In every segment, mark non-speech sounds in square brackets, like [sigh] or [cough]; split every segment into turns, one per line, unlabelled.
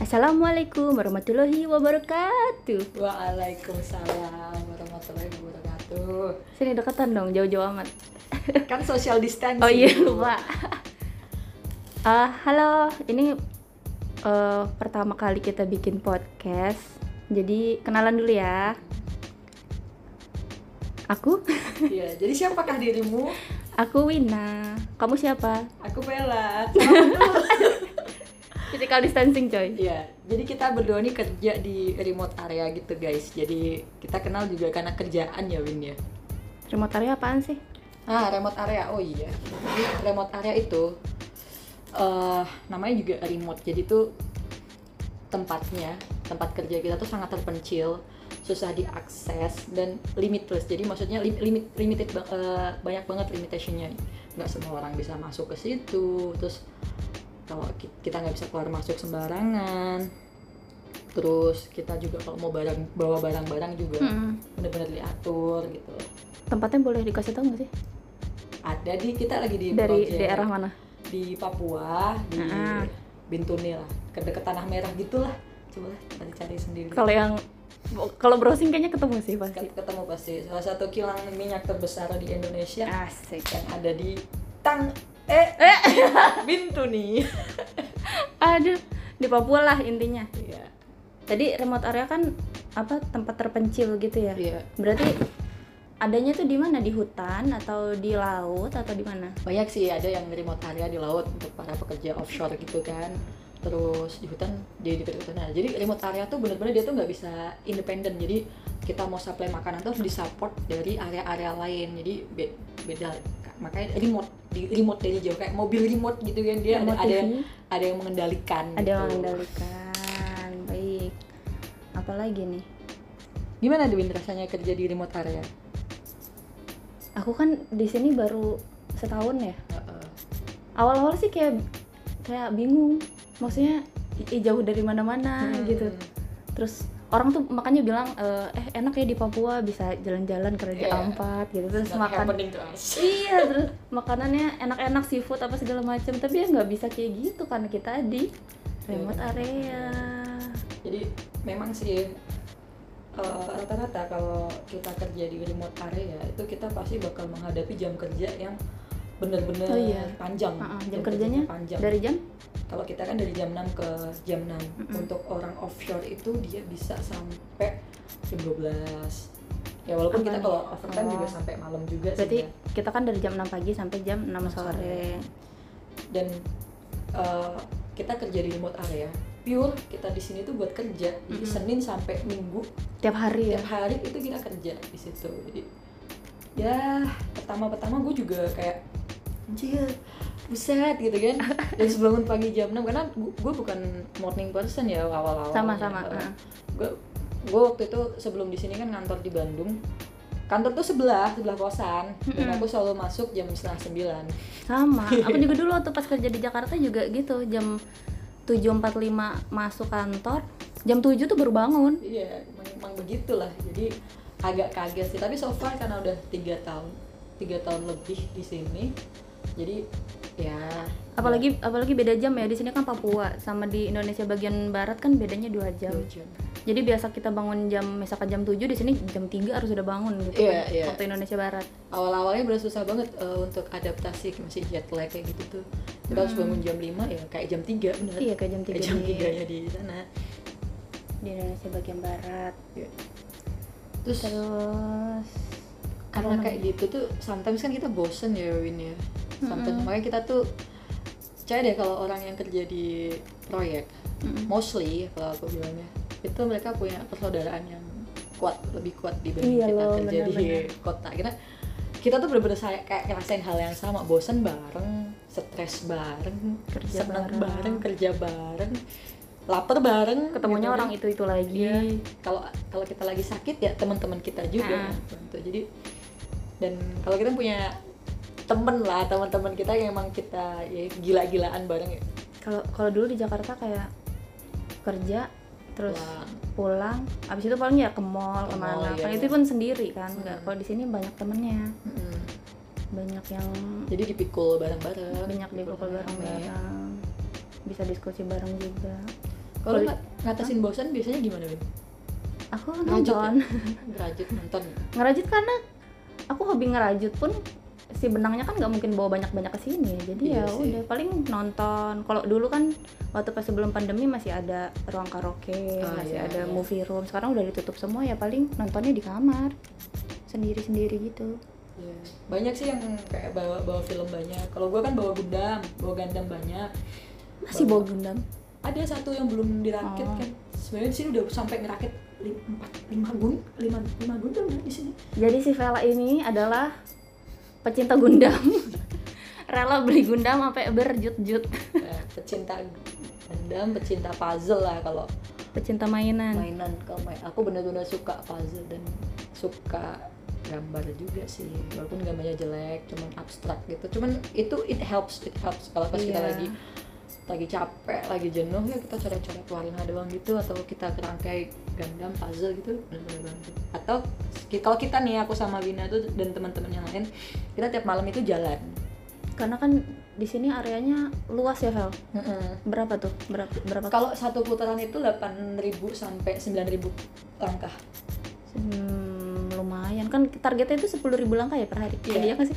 Assalamualaikum warahmatullahi wabarakatuh.
Waalaikumsalam warahmatullahi wabarakatuh.
Sini deketan dong, jauh-jauh amat.
Kan social distancing.
Oh iya lupa. Eh, halo, ini eh, pertama kali kita bikin podcast. Jadi kenalan dulu ya. Aku,
Iya, jadi siapakah dirimu?
aku Wina. Kamu siapa?
Aku Bella.
Physical distancing coy.
Iya, jadi kita berdua nih kerja di remote area gitu guys. Jadi kita kenal juga karena kerjaan ya Win ya.
Remote area apaan sih?
Ah, remote area. Oh iya. Jadi remote area itu eh namanya juga remote. Jadi tuh tempatnya, tempat kerja kita tuh sangat terpencil, susah diakses dan limitless. Jadi maksudnya lim- limit limited ba- eh, banyak banget limitationnya. Nggak semua orang bisa masuk ke situ. Terus kalau ki- kita nggak bisa keluar masuk sembarangan. Terus kita juga kalau mau barang bawa barang-barang juga
Mm-mm.
bener-bener diatur gitu
Tempatnya boleh dikasih tahu nggak sih?
ada di kita lagi di
Dari
project
daerah mana?
di Papua di
Ah.
Bintuni lah ke deket tanah merah gitulah coba lah nanti cari sendiri
Kalau yang kalau browsing kayaknya ketemu sih pasti.
Ket- ketemu pasti salah satu kilang minyak terbesar di Indonesia
Asik.
yang ada di Tang eh, Bintuni
[laughs] Aduh, di Papua lah intinya.
iya
Tadi remote area kan apa tempat terpencil gitu ya?
iya
Berarti adanya tuh di mana? Di hutan atau di laut atau di mana?
banyak sih ada yang remote area di laut untuk para pekerja offshore gitu kan terus di hutan jadi di hutan nah, jadi remote area tuh bener-bener dia tuh nggak bisa independen jadi kita mau supply makanan tuh harus disupport dari area-area lain jadi be- beda makanya remote di remote dari jauh kayak mobil remote gitu kan dia ada,
Remote
ada
TV.
yang ada yang mengendalikan
Iya, Ada yang
gitu.
mengendalikan. Baik. Apalagi nih?
gimana Dwin rasanya kerja di remote area
Aku kan di sini baru setahun ya.
Heeh.
Awal-awal sih kayak kayak bingung. Maksudnya i- jauh dari mana-mana
Hmm.
gitu. Terus orang tuh makanya bilang eh enak ya di Papua bisa jalan-jalan kerja
Iya.
empat gitu terus
Not
makan
happening to us.
iya terus makanannya enak-enak seafood apa segala macam tapi ya nggak bisa kayak gitu karena kita di remote area
jadi memang sih eh, rata-rata kalau kita kerja di remote area itu kita pasti bakal menghadapi jam kerja yang bener-bener
Oh, iya.
panjang
Ah, ah, jam kerjanya
panjang
dari jam
kalau kita kan dari jam 6 ke jam 6
Mm-mm.
untuk orang offshore itu dia bisa sampai jam 12 ya walaupun
Apa
kita
nih?
kalau overtime
Oh.
juga sampai malam juga sih
berarti
ya.
kita kan dari jam 6 pagi sampai jam 6
Sore.
sore
dan eh, kita kerja di remote area pure kita di sini tuh buat kerja jadi
Mm-mm.
Senin sampai Minggu
tiap hari ya
tiap hari itu kita kerja di situ jadi ya pertama-pertama gue juga kayak anjir buset gitu
[laughs]
kan dan bangun pagi jam 6 karena gue bukan morning person ya awal-awal
sama sama heeh.
gue gue waktu itu sebelum di sini kan kantor di Bandung kantor tuh sebelah sebelah kosan dan
Mm-mm.
aku selalu masuk jam setengah sembilan
sama aku juga dulu waktu pas kerja di Jakarta juga gitu jam 7.45 masuk kantor jam 7 tuh baru bangun
iya emang, emang begitulah jadi agak kaget sih tapi so far karena udah tiga tahun tiga tahun lebih di sini jadi ya
apalagi apalagi beda jam ya di sini kan Papua sama di Indonesia bagian barat kan bedanya dua jam
dua jam.
jadi biasa kita bangun jam misalkan jam 7 di sini jam 3 harus udah bangun gitu
Iya,
kan,
iya.
waktu Indonesia barat
awal-awalnya bener susah banget eh, untuk adaptasi masih jet lag kayak gitu tuh kita harus bangun jam 5 ya kayak jam 3 bener
Hmm. iya kayak jam 3
kayak Eh, jam
di,
3 nya di sana
di Indonesia bagian barat
Iya. terus
terus
karena
apa
kayak gitu tuh sometimes kan kita bosen ya Win ya sometimes
Mm-mm.
makanya kita tuh percaya deh kalau orang yang kerja di proyek
Mm-mm.
mostly kalau aku bilangnya itu mereka punya persaudaraan yang kuat lebih kuat dibanding
Iya
kita
loh,
kerja
bener-bener.
di kota kita kita tuh bener-bener saya kayak ngerasain hal yang sama bosen bareng stres bareng
Kerja
seneng
bareng.
bareng. kerja bareng lapar bareng
ketemunya
gitu kan.
orang itu itu lagi
Iya, kalau kalau kita lagi sakit ya teman-teman kita juga
Ah.
bantu. Jadi dan kalau kita punya temen lah teman-teman kita yang emang kita ya, gila-gilaan bareng ya.
kalau kalau dulu di Jakarta kayak kerja terus
Pulang.
pulang abis itu paling ya ke mall
Ke
kemana
mall, iya,
Kalau
iya.
itu pun sendiri kan nggak
Mm.
kalau di sini banyak temennya
Mm.
banyak yang
Jadi dipikul bareng-bareng.
Eh, banyak di
dipikul
bareng bareng bisa diskusi bareng juga
Kalau
Kulit-
ngat- ngatasin bosan biasanya gimana, Bin?
aku
Ngerajut ya?
nonton
Ngerajut nonton.
ngerajut karena aku hobi ngerajut pun si benangnya kan nggak mungkin bawa banyak-banyak ke sini jadi
Iya
ya
sih.
udah paling nonton kalau dulu kan waktu pas sebelum pandemi masih ada ruang karaoke
Ah,
masih
iya,
ada
iya.
movie room sekarang udah ditutup semua ya paling nontonnya di kamar sendiri-sendiri gitu
Iya. Banyak sih yang kayak bawa bawa film banyak. Kalau gua kan bawa Gundam, bawa Gundam banyak.
masih bawa gundam
Ada satu yang belum dirakit
Oh.
kan. Sebenarnya di sini udah sampai ngerakit lim- empat lima gun lima lima Gundam ya di sini.
jadi si Vela ini adalah pecinta
[laughs]
gundam rela beli gundam sampai berjut-jut
Eh, pecinta Gundam, pecinta puzzle lah kalau
pecinta mainan
mainan kalau main. Aku bener-bener suka puzzle dan suka gambar juga sih walaupun gambarnya jelek cuman abstrak gitu cuman itu it helps it helps kalau pas
Iya.
kita lagi lagi capek lagi jenuh ya kita coret-coret warna doang gitu atau kita kerangkai gandam puzzle gitu bener-bener bantu atau ki- kalau kita nih aku sama Wina tuh dan teman-teman yang lain kita tiap malam itu jalan
karena kan di sini areanya luas ya Vel
Mm-mm.
berapa tuh berapa berapa
kalau satu putaran itu 8.000 sampai 9.000 langkah
Hmm, lumayan kan targetnya itu 10.000 langkah ya per hari.
Iya.
Iya kan sih?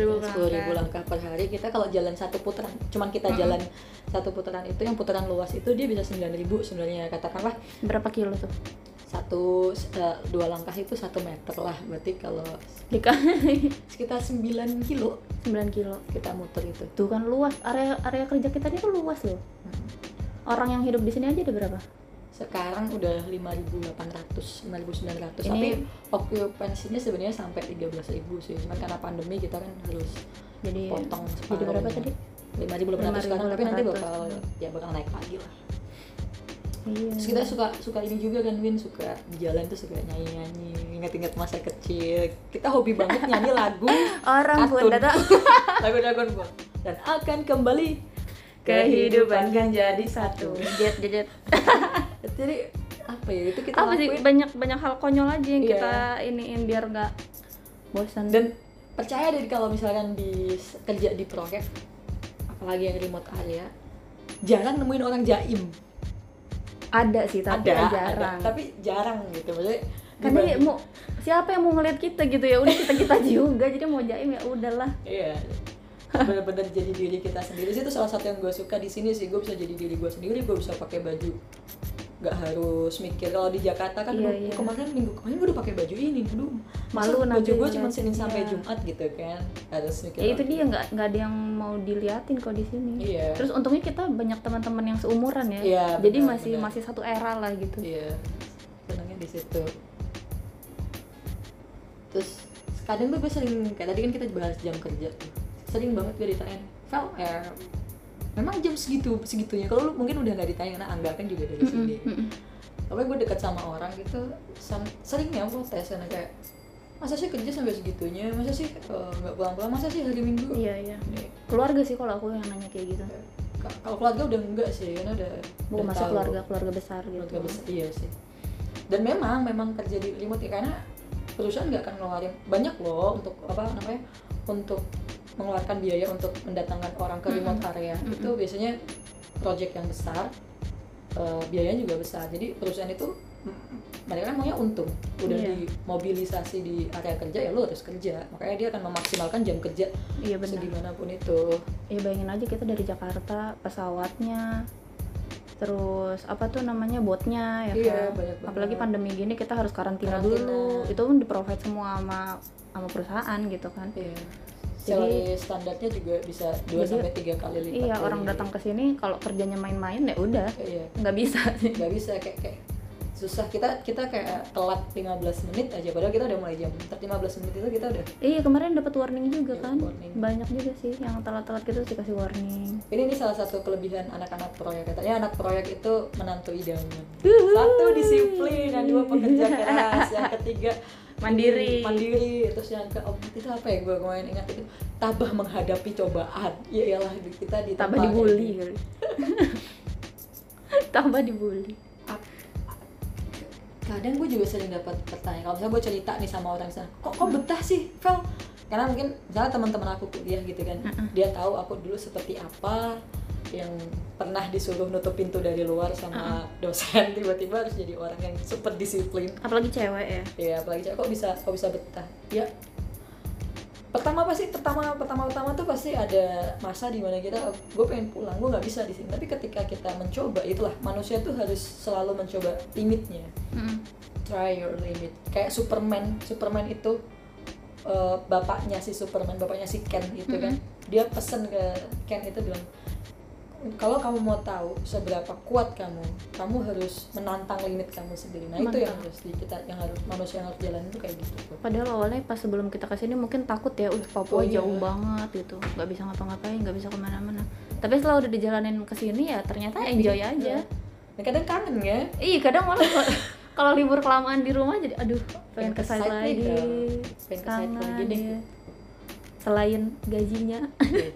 10.000
gitu, sepuluh ribu
langkah.
langkah per hari kita kalau jalan satu putaran cuman kita
Mm-mm.
jalan satu putaran itu yang putaran luas itu dia bisa 9.000 sebenarnya katakanlah
Berapa kilo tuh?
satu eh, dua langkah itu satu meter lah berarti kalau
Dikali [laughs]
sekitar 9 kilo
9 kilo.
kita muter itu
Tuh kan luas area area kerja kita ini tuh luas loh. Orang yang hidup di sini aja ada berapa?
sekarang udah 5.800 5.900
Ini-
tapi okupansinya sebenarnya sampai 13.000 sih cuman karena pandemi kita kan harus
Jadi
potong
jadi berapa
separuhnya.
tadi?
5.800 sekarang tapi nanti
5.800.
bakal ya bakal naik lagi lah
Iya.
Terus kita suka suka ini juga kan Win suka di jalan tuh suka nyanyi nyanyi ingat-ingat masa kecil kita hobi banget nyanyi
[laughs]
lagu
Orang
kartun.
Bunda tuh
lagu Dragon Ball dan akan kembali
Kehidupan
kan jadi
satu. Jet jet. jet.
jadi apa ya itu kita
Apa sih
lakuin
banyak banyak hal konyol aja yang
Iya.
kita iniin biar nggak bosan.
dan percaya deh kalau misalkan di kerja di proyek apalagi yang remote area jarang nemuin orang jaim
ada sih tapi kan
ada,
jarang.
ada tapi jarang gitu maksudnya
Karena ya
dibanding-
mau siapa yang mau ngeliat kita gitu ya udah kita kita juga jadi mau jaim ya udahlah.
Iya. Bener-bener jadi diri kita sendiri sih itu salah satu yang gue suka di sini sih gue bisa jadi diri gue sendiri gue bisa pakai baju nggak harus mikir kalau di Jakarta kan
Iya,
gua-
iya.
kemarin minggu kemarin gue udah pakai baju ini aduh
Malu
masa
nanti
baju gue cuma
ngeliat,
senin sampai
iya.
jumat gitu kan harus mikir
ya itu dia nggak nggak ada yang mau diliatin kok di sini
Iya.
terus untungnya kita banyak teman-teman yang seumuran ya
Iya,
jadi
benar,
masih
benar.
masih satu era lah gitu
iya senangnya di situ terus kadang tuh gue sering kayak tadi kan kita bahas jam kerja tuh sering banget gue ditanya Val eh, memang jam segitu segitunya kalau lu mungkin udah nggak ditanya karena angga kan juga dari sini tapi gue dekat sama orang gitu sam- sering ya protes karena kayak masa sih kerja sampai segitunya masa sih eh, nggak pulang-pulang masa sih hari minggu
iya iya
Ya,
keluarga sih kalau aku yang nanya kayak gitu
ka- kalau keluarga udah enggak sih karena udah
bukan
udah
masa
tahu.
keluarga keluarga besar gitu
keluarga besar iya sih dan memang memang kerja di remote ya karena perusahaan nggak akan ngeluarin banyak loh untuk apa namanya untuk mengeluarkan biaya untuk mendatangkan orang ke remote area
Mm-mm.
itu biasanya project yang besar eh, biayanya juga besar jadi perusahaan itu mm, mereka kan maunya untung udah
Iya.
dimobilisasi di area kerja ya lo harus kerja makanya dia akan memaksimalkan jam kerja
iya benar
segimanapun itu
ya bayangin aja kita dari Jakarta pesawatnya terus apa tuh namanya botnya ya
Iya,
kan?
banyak banget.
apalagi pandemi gini kita harus karantina,
Karantina.
dulu itu pun di provide semua sama sama perusahaan gitu kan
Iya.
Jadi-
Salary standarnya juga bisa 2
Jadi-
sampai 3 kali lipat.
iya
dari-
orang datang ke sini kalau kerjanya main-main ya udah
Iya. [laughs]
nggak bisa [laughs] sih
Nggak bisa kayak kayak susah kita kita kayak telat 15 menit aja padahal kita udah mulai jam ntar 15 menit itu kita udah
iya kemarin dapat warning juga kan
Warning.
banyak juga sih yang telat-telat gitu terus dikasih warning
ini nih salah satu kelebihan anak-anak proyek katanya anak proyek itu menantu idaman satu disiplin yang dua pekerja keras
[laughs]
yang ketiga hmm,
Mandiri.
mandiri terus yang keempat itu apa ya gue kemarin ingat itu tabah menghadapi cobaan ya iyalah kita di
tambah
tempat-
dibully kali. [laughs] tambah dibully
Ap- kadang gue juga sering dapat pertanyaan kalau misalnya gue cerita nih sama orang di sana kok kok betah sih Vel karena mungkin misalnya teman-teman aku kuliah gitu kan dia tahu aku dulu seperti apa yang pernah disuruh nutup pintu dari luar sama dosen [laughs] tiba-tiba harus jadi orang yang super disiplin
apalagi cewek ya
ya apalagi cewek kok bisa kok bisa betah ya pertama pasti pertama pertama pertama tuh pasti ada masa di mana kita gue pengen pulang gue nggak bisa di sini tapi ketika kita mencoba itulah manusia tuh harus selalu mencoba limitnya
Mm-mm.
try your limit kayak Superman Superman itu eh, bapaknya si Superman bapaknya si Ken gitu kan dia pesen ke Ken itu bilang kalau kamu mau tahu seberapa kuat kamu kamu harus menantang limit kamu sendiri nah itu yang
Mantap.
harus di, kita yang harus manusia yang harus jalanin tuh kayak gitu tuh.
padahal awalnya pas sebelum kita kesini mungkin takut ya uh Papua
Oh, iya.
jauh banget gitu nggak bisa ngapa-ngapain nggak bisa kemana-mana tapi setelah udah dijalanin kesini ya ternyata enjoy aja
nah, kadang kangen ya
Iya kadang malah kalau- [laughs] kalau libur kelamaan di rumah jadi aduh pengen
Pengen ke
ke site
site
lagi,
nih, girl. Pengen ke site
Kangen,
lagi deh.
iya. Selain gajinya,
Iya,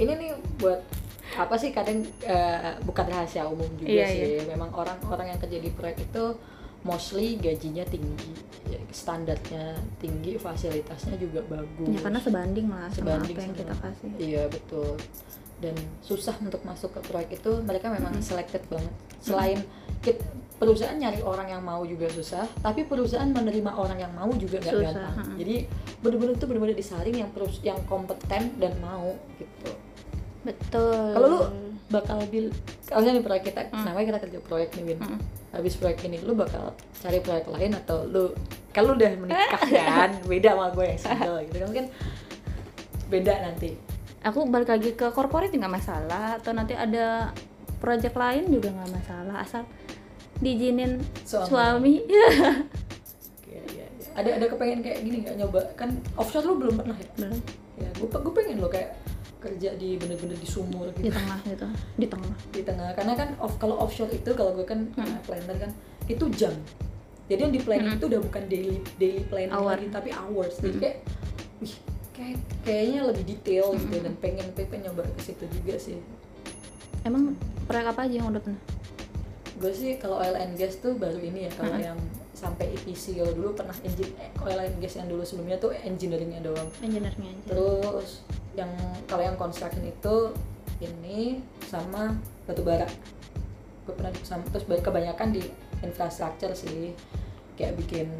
ini nih buat apa sih kadang eh, bukan rahasia umum juga
Iya,
sih memang orang-orang yang kerja di proyek itu mostly gajinya tinggi Ya, standarnya tinggi fasilitasnya juga bagus
ya karena sebanding lah sama
Hmm. Sebanding
apa yang
sama-
kita kasih.
iya betul dan susah untuk masuk ke proyek itu mereka memang
Hmm.
selected banget selain kit- perusahaan nyari orang yang mau juga susah tapi perusahaan menerima orang yang mau juga nggak
Susah, hmm.
gampang
ha-ha.
jadi bener-bener itu bener-bener disaring yang perus yang kompeten dan mau gitu
Betul.
kalau lu bakal bil kalau nih proyek kita
Hmm.
namanya kita kerja proyek nih Win
Mm.
habis proyek ini lu bakal cari proyek lain atau lu kalau lu udah
[laughs]
menikah kan beda sama gue yang single gitu kan mungkin beda nanti
aku balik lagi ke corporate nggak masalah atau nanti ada project lain juga nggak masalah asal diizinin
Suami.
suami. [laughs]
Iya, iya, iya. ada ada kepengen kayak gini nggak nyoba kan offshore lu belum pernah ya
Belum
ya gue gue pengen lo kayak kerja di bener-bener di sumur
di
gitu
tengah gitu, di tengah.
di tengah karena kan off kalau offshore itu kalau gue kan
Hmm.
planner kan itu jam jadi yang di planning
Hmm.
itu udah bukan daily daily planning
Hour.
lagi tapi hours jadi
Hmm.
kayak wih kayak kayaknya lebih detail gitu
Hmm.
dan pengen pengen nyoba ke situ juga sih
Emang proyek apa aja yang udah pernah?
gue sih kalau oil and gas tuh baru ini ya kalau
Hmm.
yang sampai EPC kalau dulu pernah engine eh, oil and gas yang dulu sebelumnya tuh engineeringnya doang
Engineering aja.
terus yang kalau yang construction itu ini sama batu bara gue pernah di- sama, terus kebanyakan di infrastruktur sih kayak bikin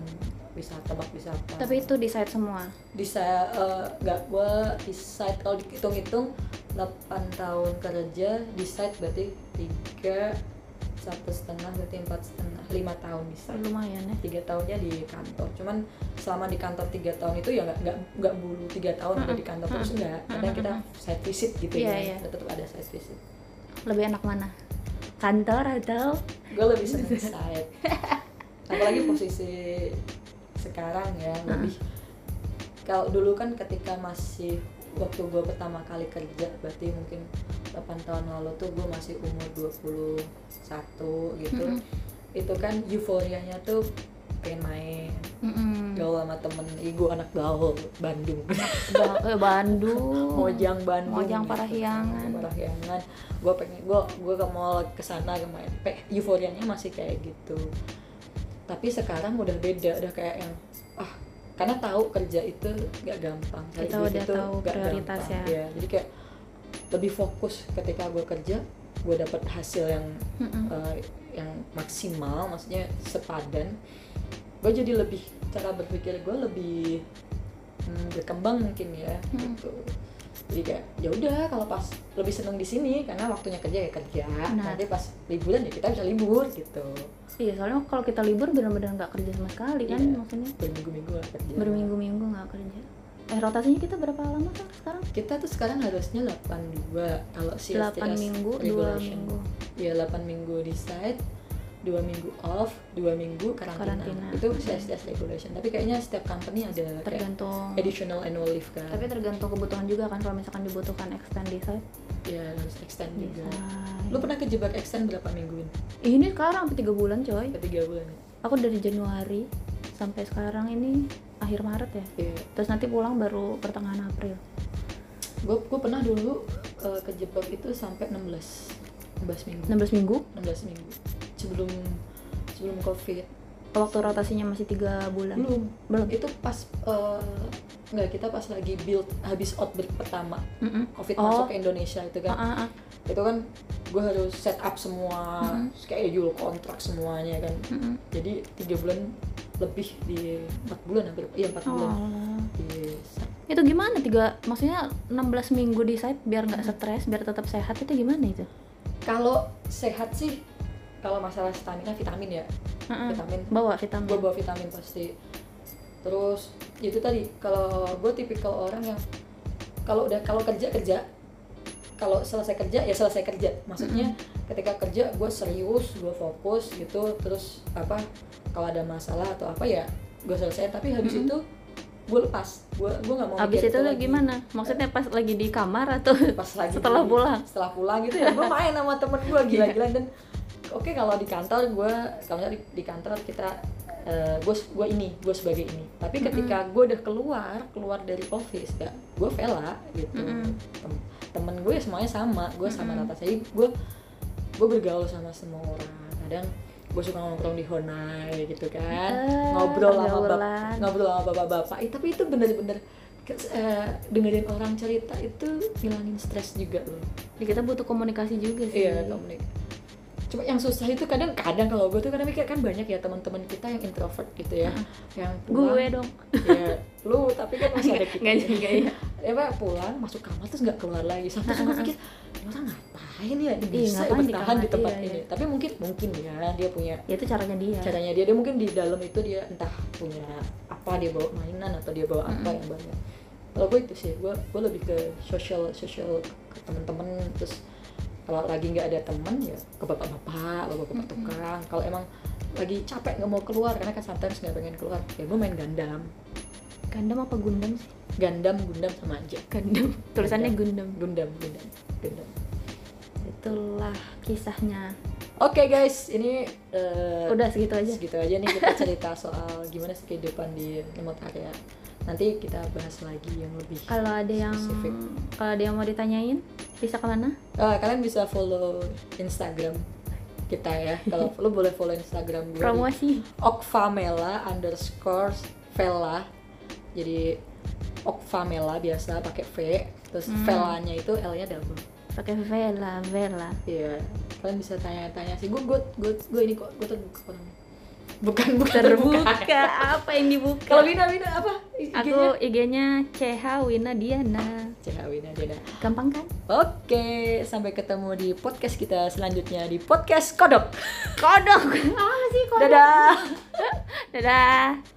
wisata tempat wisata
Tapi itu di site semua.
bisa eh, nggak gue di site kalau dihitung-hitung 8 tahun kerja di site berarti tiga satu setengah berarti empat setengah lima tahun bisa
Lumayan ya.
tiga tahunnya di kantor cuman selama di kantor tiga tahun itu ya nggak nggak nggak bulu tiga tahun ada di kantor terus nggak kadang kita side visit gitu
Iya,
ya
iya.
tetap ada side visit
lebih enak mana kantor atau
gue lebih
[laughs]
seneng side apalagi posisi sekarang ya lebih kalau dulu kan ketika masih waktu gue pertama kali kerja berarti mungkin 8 tahun lalu tuh gue masih umur 21 gitu
Mm-mm.
itu kan euforianya tuh pengen main
Mm-mm.
gaul sama temen Ih, gue anak gaul Bandung
Ba- eh, Bandung
Mojang Bandung
Oh. Mojang
gitu.
Parahyangan.
Parahyangan gue pengen gue gue ke mall ke sana kemarin Pe- euforianya masih kayak gitu tapi sekarang udah beda udah kayak yang ah karena tahu kerja itu gak gampang Cari
Kita
duit
udah
itu
tahu
nggak
prioritas
gampang.
ya.
Iya, jadi kayak lebih fokus ketika gue kerja gue dapat hasil yang
Mm-mm.
eh, yang maksimal maksudnya sepadan gue jadi lebih cara berpikir gue lebih hmm, berkembang mungkin ya
Hmm.
gitu jadi kayak ya udah kalau pas lebih seneng di sini karena waktunya kerja ya kerja
Nah.
nanti pas liburan ya kita bisa libur gitu
iya soalnya kalau kita libur benar-benar nggak kerja sama sekali kan
Iya.
maksudnya
berminggu-minggu lah kerja
berminggu-minggu nggak kerja eh rotasinya kita berapa lama kan sekarang
kita tuh sekarang harusnya 82 kalau si
8 minggu 2 minggu
ya 8 minggu di site dua minggu off dua minggu karantina,
Karantina.
itu CSDS regulation tapi kayaknya setiap company ada kayak
tergantung
additional annual leave kan
tapi tergantung kebutuhan juga kan kalau misalkan dibutuhkan extend di site
ya harus extend
bisa
juga lu pernah kejebak extend berapa mingguin
ini sekarang sampai 3 bulan coy
ketiga bulan ya?
aku dari Januari sampai sekarang ini akhir Maret ya
ya
terus nanti pulang baru pertengahan April
gue gue pernah dulu eh, kejebak itu sampai 16 16 minggu
16 minggu
16 minggu sebelum sebelum covid
waktu rotasinya masih tiga bulan
belum
belum
itu pas eh, nggak kita pas lagi build habis outbreak pertama
Mm-mm.
covid
Oh.
masuk ke Indonesia itu kan
Ah, ah, ah.
itu kan gue harus set up semua
Mhm.
schedule kontrak semuanya kan
Mm-mm.
jadi tiga bulan lebih di empat bulan hampir iya empat bulan
Oh.
Yes.
Iya. Itu gimana tiga maksudnya 16 minggu di site biar nggak stres, biar tetap sehat itu gimana itu?
kalau sehat sih kalau masalah stamina vitamin ya
Ah, ah.
vitamin
Bawa vitamin.
gue bawa vitamin pasti terus itu tadi kalau gue tipikal orang yang kalau udah kalau kerja kerja kalau selesai kerja ya selesai kerja maksudnya ketika kerja gue serius gue fokus gitu terus apa kalau ada masalah atau apa ya gue selesai tapi habis
Mm-mm.
itu gue lepas gue gue nggak mau
Abis
mikir
itu gimana? Maksudnya pas lagi di kamar atau [laughs]
[laughs] pas lagi
setelah
di-
pulang? Iya.
setelah pulang gitu ya gue main sama temen
[laughs]
gue gila-gilaan dan oke kalau di kantor gue kalau misalnya di, di kantor kita eh, gue gue ini gue sebagai ini tapi ketika gue udah keluar keluar dari office ya gue vela gitu
Mm-mm.
Tem- temen gue semuanya sama gue sama
Mm-mm.
rata saya gue gue bergaul sama semua orang kadang gue suka nongkrong di honai gitu kan
Ah,
ngobrol sama bap-
pergaulan.
ngobrol sama bapak-bapak Eh, tapi itu bener-bener ke- eh, dengerin orang cerita itu ngilangin stres juga loh
Ya, kita butuh komunikasi juga sih.
Iya, komunik. Cuma yang susah itu kadang-kadang kalau gue tuh kadang mikir kan banyak ya teman-teman kita yang introvert gitu ya, yang
Ah.
pulang.
Gue dong.
Ya, lu tapi kan masih ada kita.
Nggak juga ya.
Ya, Pak, pulang masuk kamar terus nggak keluar lagi. Sampai gue pikir, ini orang ngapain ya? Dia
Nah, Iya,
bisa ya
ngapain di
bertahan
kamar?
di tempat
Iya,
ini.
iya.
Tapi mungkin mungkin ya dia punya
[laughs] Ya itu caranya dia.
caranya dia dia mungkin di dalam itu dia entah punya apa dia bawa mainan atau dia bawa apa yang banyak kalau gue itu sih gue gue lebih ke social social ke temen-temen terus kalau lagi nggak ada temen ya ke bapak-bapak bapak-bapak tukang kalau emang lagi capek nggak mau keluar karena kan sometimes nggak pengen keluar ya gue main gandam
Gundam apa Gundam sih?
gandam gundam sama aja
Gundam. Tulisannya Gundam.
gundam gundam gundam
Itulah kisahnya.
oke guys ini eh,
Udah segitu aja.
segitu aja nih kita cerita soal gimana sih kehidupan di remote area nanti kita bahas lagi yang lebih
Kalau ada yang
Spesifik.
kalau ada yang mau ditanyain, bisa kemana?
Eh, kalian bisa follow instagram kita ya kalau lo boleh follow instagram gue di
Promosi.
okfamela underscore vela jadi okfamela biasa pakai v terus
Hmm.
velanya itu l nya double
Pakai Vela, Vela.
Iya, kalian bisa tanya-tanya sih. Gue gue gue gue ini kok gue terbuka orangnya. Bukan bukan
Terbuka apa yang dibuka?
Kalau Wina Wina apa? IG-nya?
Aku IG-nya CH Wina Diana.
Cek Wina Dena.
Gampang kan?
Oke, sampai ketemu di podcast kita selanjutnya di podcast Kodok.
Kodok. Apa sih kodok?
Dadah.
Dadah.